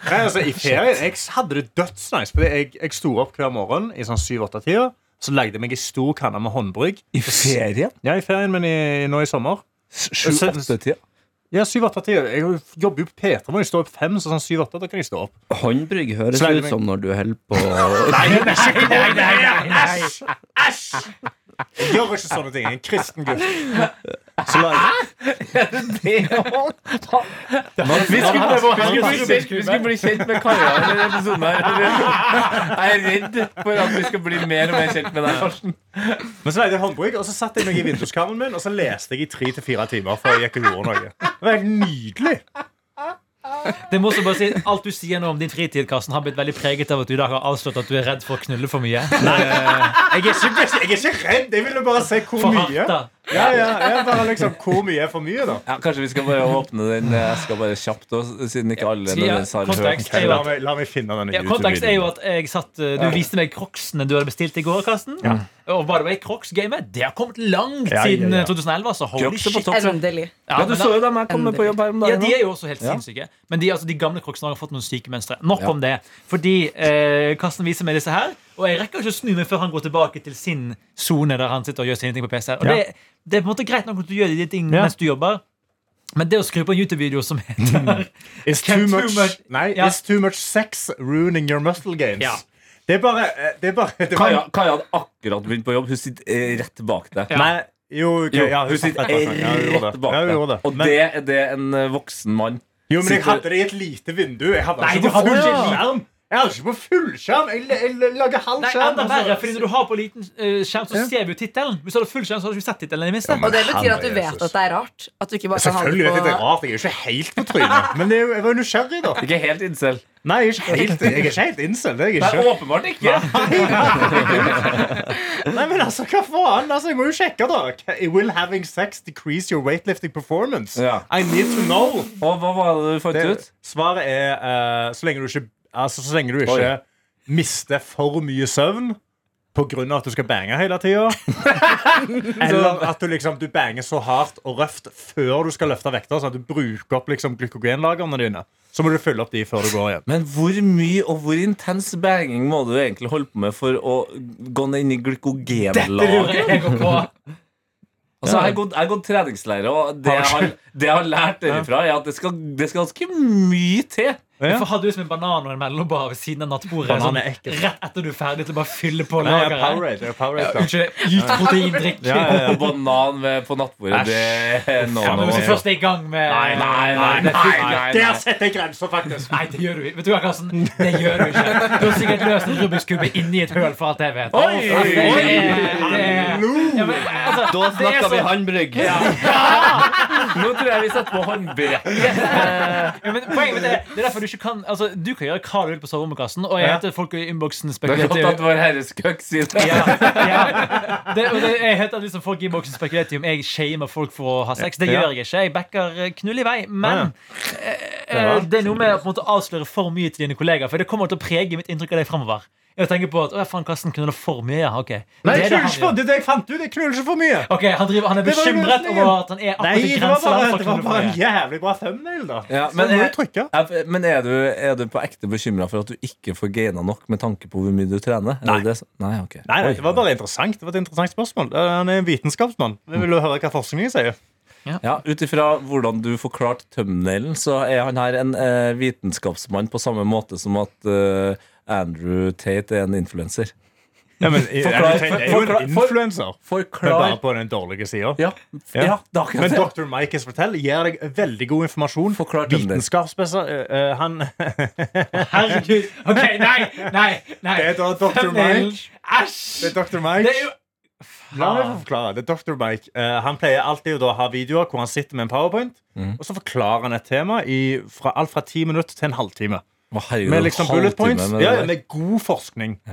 Nei, altså, I ferien jeg hadde det dødsnice. Fordi jeg, jeg sto opp hver morgen i sånn 7-8-tida. Så lagde jeg meg ei stor kanne med håndbrygg.
I ferien?
Ja, i ferien, men i, nå i sommer.
Sju-åtte-tida?
Ja, 7-8-tida. Jeg jobber jo på P3 når jeg står opp fem, så sånn 7-8, da kan jeg stå opp.
Håndbrygg høres
Slide
ut
meg.
som når du holder på
Nei, nei, nei, nei.
Jeg gjør ikke sånne ting. Jeg er en kristen gutt. Så la jeg
Vi skulle prøve å vi skulle bli kjent- vi skulle bli kjent med Kaja i denne episoden. her Jeg er redd for at vi skal bli mer og mer kjent med deg, Karsten.
Men så lagde jeg håndbrygg, og så satt jeg meg i vinduskarmen min, og så leste jeg i tre til fire timer før jeg gikk og gjorde noe. Det var helt nydelig.
Det må også bare si Alt du sier nå om din fritid, Karsten, har blitt veldig preget av at du i dag har avslått at du er redd for å knulle for mye.
Jeg er ikke, jeg er ikke redd. Jeg ville bare se hvor
For
mye.
harta.
Ja, ja, ja, bare liksom, Hvor mye er for mye, da?
Ja, kanskje vi skal bare åpne den eh, Jeg skal bare kjapt også, siden ikke alle
Ja,
nødvendigvis har hørt
kontekst er jo
La
at,
meg, la meg finne denne
ja, kontekst er jo
YouTube-videoen.
at jeg satt, eh, du viste meg crocsene du hadde bestilt i går, Karsten. Og by the way, Crocs-gamet det har kommet langt
Ja, ja,
siden
ja.
eh, 2011. Altså, holy
Crocs er på
shit.
topp.
Endelig.
Ja,
Du
men
så
da-
jo dem jeg kom med på jobb her om
Ja,
dagen.
de
da.
er jo også helt sinnssyke. Men de, altså, de gamle crocsene har fått noen syke mønstre. Nok om det. Fordi eh, Karsten viser meg disse her, og jeg rekker ikke å snu meg før han går tilbake til sin sone der han sitter og gjør sine ting på PC. Og
Ja.
det, det er på en måte greit nok at du gjør de ting
Ja.
mens du jobber, men det å skru på en YouTube-video som heter
It's too
Too
much,
much-
nei,
Ja.
it's too much sex ruining your muscle gains.
Ja.
Det er bare, eh, det er bare det er
Kaja,
bare-
Kaja hadde akkurat begynt på jobb. Hun sitter eh, rett bak deg.
Ja.
Nei, jo, ok,
Jo,
ja, hun
hun
satt
sitter
rett bak meg. Ja, hun gjorde
rett
det.
bak
Ja, hun
deg.
gjorde det.
Og
Men-
det er det en eh, voksen mann
Jo, men jeg
sitter-
hadde det i et lite vindu. Jeg hadde
Nei,
ikke
du
på
hadde
full
ikke-
skjerm. Jeg hadde ikke på fullskjerm. Jeg, jeg lager halv
Nei,
skjerm.
enda verre, fordi når du har på liten eh, skjerm, så ser vi jo tittelen. Hvis du hadde full skjerm, så hadde du ikke sett tittelen i det minste.
Og det betyr
Herre
at du vet
Jesus.
at det er rart. At du ikke bare kan ha
Selvfølgelig
det
vet jeg det er
på
rart. Jeg er jo ikke helt på trynet. Men det er jo, jeg var jo nysgjerrig, da.
Ikke helt incel.
Nei, jeg er ikke helt, jeg er ikke helt incel. Det er jeg
Nei,
ikke.
åpenbart ikke.
Nei, men altså, hva faen? Altså, jeg må jo sjekke, da. Will having sex decrease your weightlifting performance?
Ja.
I need to know.
Og hva var det du fant
Det,
ut?
svaret er eh, så lenge du ikke, altså, så lenge du ikke
Oi.
mister for mye søvn på grunn av at du skal bange hele tida. Eller at du liksom du banger så hardt og røft før du skal løfte vekter, sånn at du bruker opp liksom glykogenlagrene dine. Så må du fylle opp de før du går igjen.
Men hvor mye og hvor intens banging må du egentlig holde på med for å gå ned inn i glykogenlageret?
Jeg går på.
Altså, jeg har gått, jeg har gått treningslære, og det jeg har, det jeg har lært derifra, er at det skal, det skal ganske mye til.
Ja.
Hvorfor hadde du liksom en banan og en mellombar ved siden av nattbordet?
Banan
Sånn,
er ekkelt.
rett etter du er ferdig til å bare fylle på
Nei, jeg er
lageret.
Powerade, jeg er Powerade, da.
Unnskyld, yt proteindrikk.
Ja, ja, ja.
Og banan ved, på nattbordet,
Æsj.
det er no
Ja, men
no.
hvis du først er i gang med
Nei, nei, nei,
det er
nei,
fullt-
nei.
Der setter jeg grenser, faktisk.
Nei, det gjør du ikke. Vet du hva, Karsten? Det gjør du ikke. Du har sikkert løst en Rubiks kube inni et høl, for alt jeg vet.
Oi,
Ja, det er-
oi.
det er- Ja, men, altså,
Da
det er
snakker vi
så-
handbrygg.
Nå tror jeg vi setter på håndbrekket.
Ja, men poenget mitt er Det er derfor du ikke kan Altså, du kan gjøre hva du vil på soverommet, Karsten, og jeg
Ja.
vet at folk i innboksen
Det er
spekulerer
godt at vår herre skøkk sier det.
ja, ja. Det, og det, jeg heter at liksom folk i boksen spekulerer i om jeg shamer folk for å ha sex. Det
Ja. Ah,
gjør jeg ikke. Jeg backer eh, knull i vei. Men
Ja,
eh, eh, det er noe med å på en måte avsløre for mye til dine kollegaer, for det kommer til å prege mitt inntrykk av deg fremover. Jeg tenker på at «Å, faen, Karsten knuller for mye. Ja, ok.
Nei,
Det
jeg
er det
knuller
han
ikke for
gjør.
Det er det jeg fant ut. Jeg knuller ikke for mye.
Ok, han, driver, han er
Det var jo
bekymret
løsningen.
over at han er
Nei,
akkurat i
det var bare,
grenseland for
det var bare en
knullefrihet.
jævlig bra thumbnail, da.
Ja,
Så
men
jeg må
jeg-
jo trykke.
Jeg- Men er du, er du på ekte bekymra for at du ikke får gaina nok med tanke på hvor mye du trener? Er
Nei.
det det som- Nei, ok
Nei, nei,
Oi.
det var bare interessant. Det var et interessant spørsmål. Eh, Han er en vitenskapsmann. Jeg vil jo høre hva forskningen sier.
Ja, Ut ifra hvordan du forklarte thumbnailen, så er han her en eh, vitenskapsmann på samme måte som at eh, Andrew Tate er en influenser.
Ja, men
Forklar-
jeg er jo
forklar-
en
for-
influenser. Men bare
Forklar
på den dårlige sida.
Ja,
Ja.
ja. det er akkurat
Men
det.
Dr. Micas Fortell gir deg veldig god informasjon.
Forklar thumbnail.
Vitenskapsspesial... eh, eh, Han
Herregud. Ok, nei, nei, nei.
Det er da Dr.
Thumbnailen.
Mike. Det
Æsj!
er Ah. Dr. Mike.
Det er jo
La meg få forklare. Det er Dr. Mike. Eh, han pleier alltid å da ha videoer hvor han sitter med en powerpoint, og så forklarer han et tema i, fra, alt fra ti minutter til en halvtime.
Å, herregud,
Med
en
liksom
halvtime
bullet points.
med det
ja,
der.
ja, med god forskning. Ja.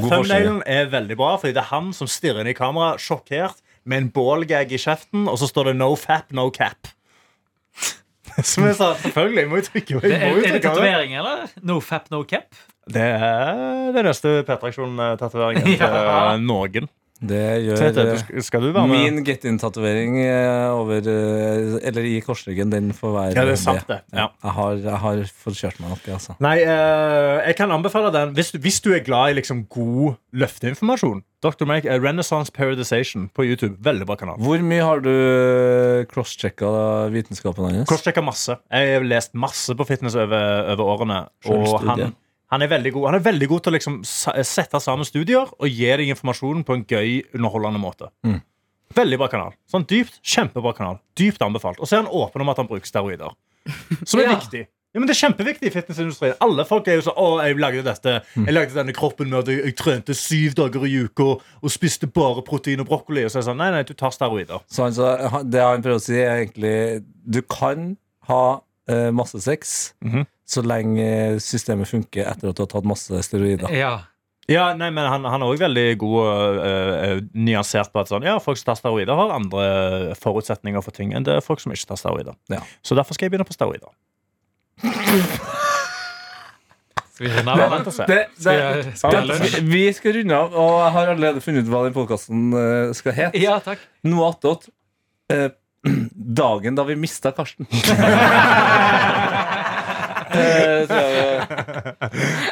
God
Thumbnailen er veldig bra, fordi det er han som stirrer inn i kamera sjokkert med en ballgag i kjeften, og så står det 'no fap, no cap'. Som jeg sa, selvfølgelig. Jeg må jo trykke.
Er,
Jeg må jo trykke
er det
av det.
tatovering, eller? No fap, no cap?
det er den neste P3aksjon-tatoveringen til
Ja.
noen.
Det gjør
Tete,
eh,
du sk- skal du være med?
min get in-tatovering eh, over eh, Eller i korsryggen, den får være
Ja, det er sant, det. Ja.
Jeg har, jeg har fått kjørt meg noe, altså.
Nei, eh, jeg kan anbefale den hvis du, hvis du er glad i liksom god løfteinformasjon. Dr. Mike, eh, Renaissance Periodization på YouTube. Veldig bra kanal.
Hvor mye har du crosschecka vitenskapen hans?
Korssjekka masse. Jeg har lest masse på fitness over, over årene. Og
Skjønner
han,
studiet.
han, er veldig god. han er veldig god til å liksom sa- sette sammen studier og gi deg informasjonen på en gøy, underholdende måte.
Mm.
Veldig bra kanal. Sånn dypt, Kjempebra kanal. Dypt anbefalt. Og så er han åpen om at han bruker steroider. Som er
Ja.
viktig. Ja, men Det er kjempeviktig i fitnessindustrien. Alle folk er jo sånn 'Å, jeg lagde dette. Jeg lagde denne kroppen med at jeg, jeg trente syv dager i uka og spiste bare protein og brokkoli.' Og så er det sånn Nei, nei, du tar steroider.
Så han, så, han- det han prøver å si, er egentlig Du kan ha eh, masse sex
Mhm.
så lenge systemet funker etter at du har tatt masse steroider.
Ja.
Ja, nei, men han, han er òg veldig god og øh, øh, nyansert på at sånn, ja, folk som tar steroider, har andre eh, forutsetninger for ting enn det er folk som ikke tar steroider.
Ja.
Så derfor skal jeg begynne på steroider.
Skal vi runde
Det
av?
er
eller?
rett å se.
Det,
Skal jeg- skal jeg ha
det-
lunsj?
vi- vi skal runde av, og jeg har allerede funnet ut hva den podkasten skal hete.
Ja, takk.
Noe attåt. Eh, dagen da vi mista Karsten. Eh, tror, jeg,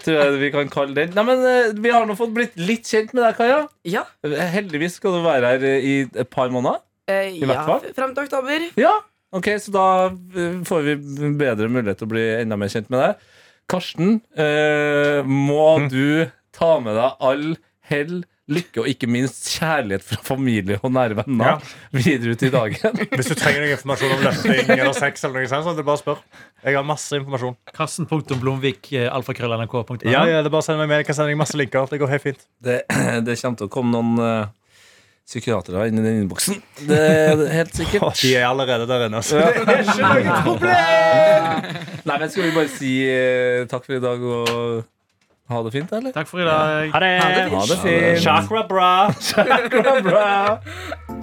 tror jeg vi kan kalle den. Nei, men eh, Vi har nå fått blitt litt kjent med deg, Kaja.
Ja.
Heldigvis skal du være her eh, i et par måneder.
Eh,
hvert
ja.
fall.
Fram til oktober.
Ja, ok, så da eh, får vi bedre mulighet til å bli enda mer kjent med deg. Karsten, eh, må
Mm.
du ta med deg all hell, lykke og ikke minst kjærlighet fra familie og nære venner
Ja.
videre ut i dagen.
Hvis du trenger noe informasjon om løfting eller sex, eller noe sånt, så er det bare å spørre. Jeg har masse informasjon.
Karsten.blomvik, eh, alfakrøll.nrk.no.
Ja, ja, det er bare å sende meg mail. Jeg kan sende deg masse linker. Det går helt fint.
Det, det kommer til å komme noen eh, psykiatere inn i den innboksen. Det er helt sikkert.
Å, de er allerede der inne. Altså. Det er ikke noe problem.
Nei, men Skal vi bare si eh, takk for i dag og ha det fint, eller?
Takk for i dag.
Ha det.
Ha det fint.
Chakra bra.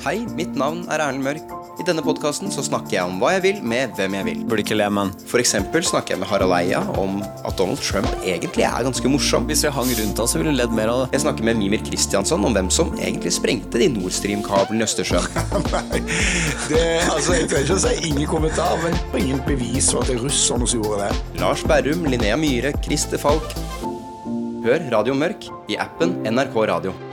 Hei, mitt navn er Erlend Mørk. I denne podkasten så snakker jeg om hva jeg vil med hvem jeg vil. Burde ikke le, men. For eksempel snakker jeg med Harald Eia om at Donald Trump egentlig er ganske morsom. Hvis jeg hang rundt han, så ville hun ledd mer av det. Jeg snakker med Mimir Kristiansson om hvem som egentlig sprengte de Nord Stream-kablene i Østersjøen.
Det, altså, jeg trenger ikke å si ingen kommentar, men ingen bevis for at det er russerne som gjorde det.
Lars Berrum, Linnea Myhre, Christer Falk. Hør Radio Mørk i appen NRK Radio.